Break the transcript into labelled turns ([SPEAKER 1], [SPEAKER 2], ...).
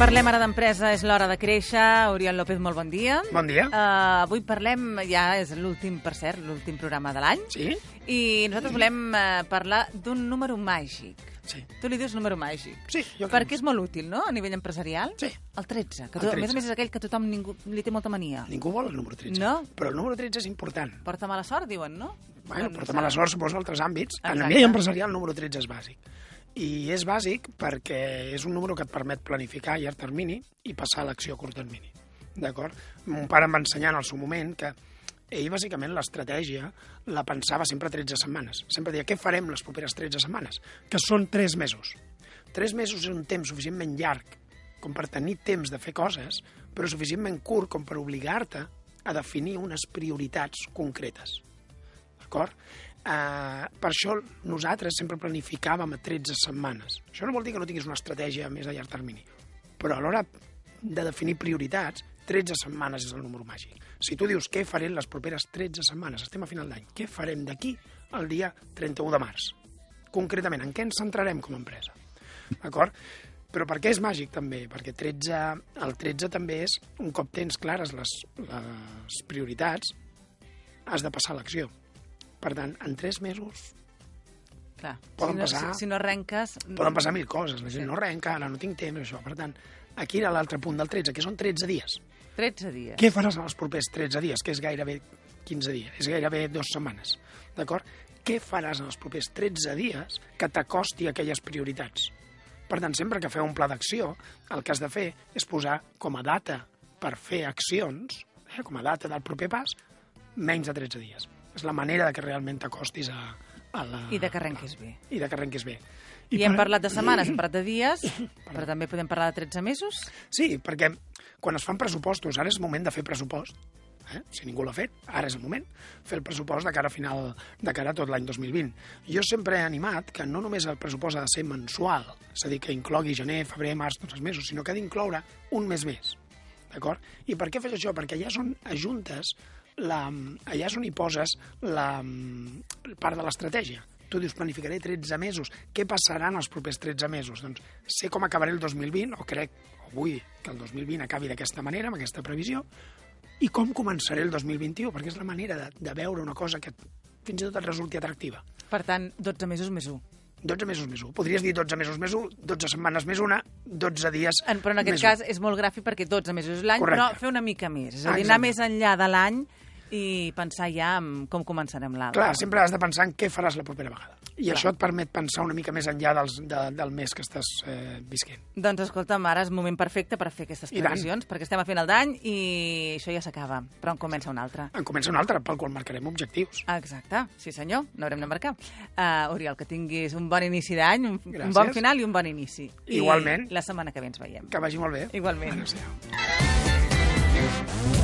[SPEAKER 1] Parlem ara d'empresa, és l'hora de créixer. Oriol López, molt bon dia.
[SPEAKER 2] Bon dia.
[SPEAKER 1] Uh, avui parlem, ja és l'últim, per cert, l'últim programa de l'any.
[SPEAKER 2] Sí?
[SPEAKER 1] I nosaltres volem eh, parlar d'un número màgic.
[SPEAKER 2] Sí.
[SPEAKER 1] Tu li dius número màgic.
[SPEAKER 2] Sí, jo crec
[SPEAKER 1] Perquè
[SPEAKER 2] que
[SPEAKER 1] és molt útil, no?, a nivell empresarial.
[SPEAKER 2] Sí.
[SPEAKER 1] El 13, que
[SPEAKER 2] El
[SPEAKER 1] tu, a més
[SPEAKER 2] 13.
[SPEAKER 1] a més és aquell que tothom ningú, li té molta mania.
[SPEAKER 2] Ningú vol el número 13.
[SPEAKER 1] No.
[SPEAKER 2] Però el número 13 és important.
[SPEAKER 1] Porta mala sort, diuen, no?
[SPEAKER 2] Bueno,
[SPEAKER 1] Doncs,
[SPEAKER 2] porta mala
[SPEAKER 1] eh,
[SPEAKER 2] sort, suposo, a altres àmbits. En
[SPEAKER 1] Exacte.
[SPEAKER 2] l'ambient empresarial, el número 13 és bàsic. I és bàsic perquè és un número que et permet planificar a llarg termini i passar a l'acció a curt termini. D'acord? Mon pare em va ensenyar en el seu moment que ell, bàsicament, l'estratègia la pensava sempre a 13 setmanes. Sempre deia, què farem les properes 13 setmanes? Que són 3 mesos. 3 mesos és un temps suficientment llarg com per tenir temps de fer coses, però suficientment curt com per obligar-te a definir unes prioritats concretes d'acord? Uh, per això nosaltres sempre planificàvem a 13 setmanes. Això no vol dir que no tinguis una estratègia més a llarg termini, però a l'hora de definir prioritats, 13 setmanes és el número màgic. Si tu dius què farem les properes 13 setmanes, estem a final d'any, què farem d'aquí al dia 31 de març? Concretament, en què ens centrarem com a empresa? D'acord? Però per què és màgic també? Perquè 13, el 13 també és, un cop tens clares les, les prioritats, has de passar a l'acció. Per tant, en tres mesos
[SPEAKER 1] Clar,
[SPEAKER 2] poden
[SPEAKER 1] si no,
[SPEAKER 2] passar-
[SPEAKER 1] Si, si no arrenques...
[SPEAKER 2] poden passar mil coses. La gent
[SPEAKER 1] Sí.
[SPEAKER 2] no arrenca, ara no tinc temps, això. Per tant, aquí era l'altre punt del 13, que són 13 dies.
[SPEAKER 1] 13 dies.
[SPEAKER 2] Què faràs en els propers 13 dies, que és gairebé 15 dies, és gairebé dues setmanes, d'acord? Què faràs en els propers 13 dies que t'acosti a aquelles prioritats? Per tant, sempre que feu un pla d'acció, el que has de fer és posar com a data per fer accions, eh, com a data del proper pas, menys de 13 dies. És la manera de que realment t'acostis a, a la...
[SPEAKER 1] I de que arrenquis bé.
[SPEAKER 2] I de que arrenquis bé.
[SPEAKER 1] I, I hem parlat de setmanes, hem parlat de dies, però també podem parlar de 13 mesos.
[SPEAKER 2] Sí, perquè quan es fan pressupostos, ara és moment de fer pressupost. Eh? Si ningú l'ha fet, ara és el moment. Fer el pressupost de cara a, final, de cara a tot l'any 2020. Jo sempre he animat que no només el pressupost ha de ser mensual, és a dir, que inclogui gener, febrer, març, tots els mesos, sinó que ha d'incloure un mes més. D'acord? I per què fes això? Perquè allà són ajuntes la, allà és on hi poses la mm, part de l'estratègia. Tu dius, planificaré 13 mesos. Què passarà en els propers 13 mesos? Doncs sé com acabaré el 2020, o crec, o vull que el 2020 acabi d'aquesta manera, amb aquesta previsió, i com començaré el 2021, perquè és la manera de, de veure una cosa que fins i tot et resulti atractiva.
[SPEAKER 1] Per tant, 12 mesos més 1.
[SPEAKER 2] 12 mesos més 1. Podries dir 12 mesos més 1, 12 setmanes més una, 12 dies
[SPEAKER 1] En, però en aquest
[SPEAKER 2] més
[SPEAKER 1] cas és molt gràfic perquè 12 mesos és l'any,
[SPEAKER 2] Correcte.
[SPEAKER 1] però fer una mica més. És a dir,
[SPEAKER 2] Exacte.
[SPEAKER 1] anar més enllà de l'any i pensar ja en com començarem l'altre.
[SPEAKER 2] Clar, sempre has de pensar en què faràs la propera vegada. I Clar. això et permet pensar una mica més enllà dels, de, del mes que estàs eh, visquent.
[SPEAKER 1] Doncs escolta'm, ara és moment perfecte per fer aquestes
[SPEAKER 2] I tant.
[SPEAKER 1] previsions, perquè estem a final d'any i això ja s'acaba, però en comença un altre.
[SPEAKER 2] En comença un altre, pel qual marcarem objectius.
[SPEAKER 1] Ah. Exacte, sí senyor, n'haurem de marcar. Uh, Oriol, que tinguis un bon inici d'any, un, un
[SPEAKER 2] Gràcies.
[SPEAKER 1] bon final i un bon inici. I
[SPEAKER 2] Igualment.
[SPEAKER 1] la setmana que ve ens veiem.
[SPEAKER 2] Que vagi molt bé.
[SPEAKER 1] Igualment.
[SPEAKER 2] Adéu-siau.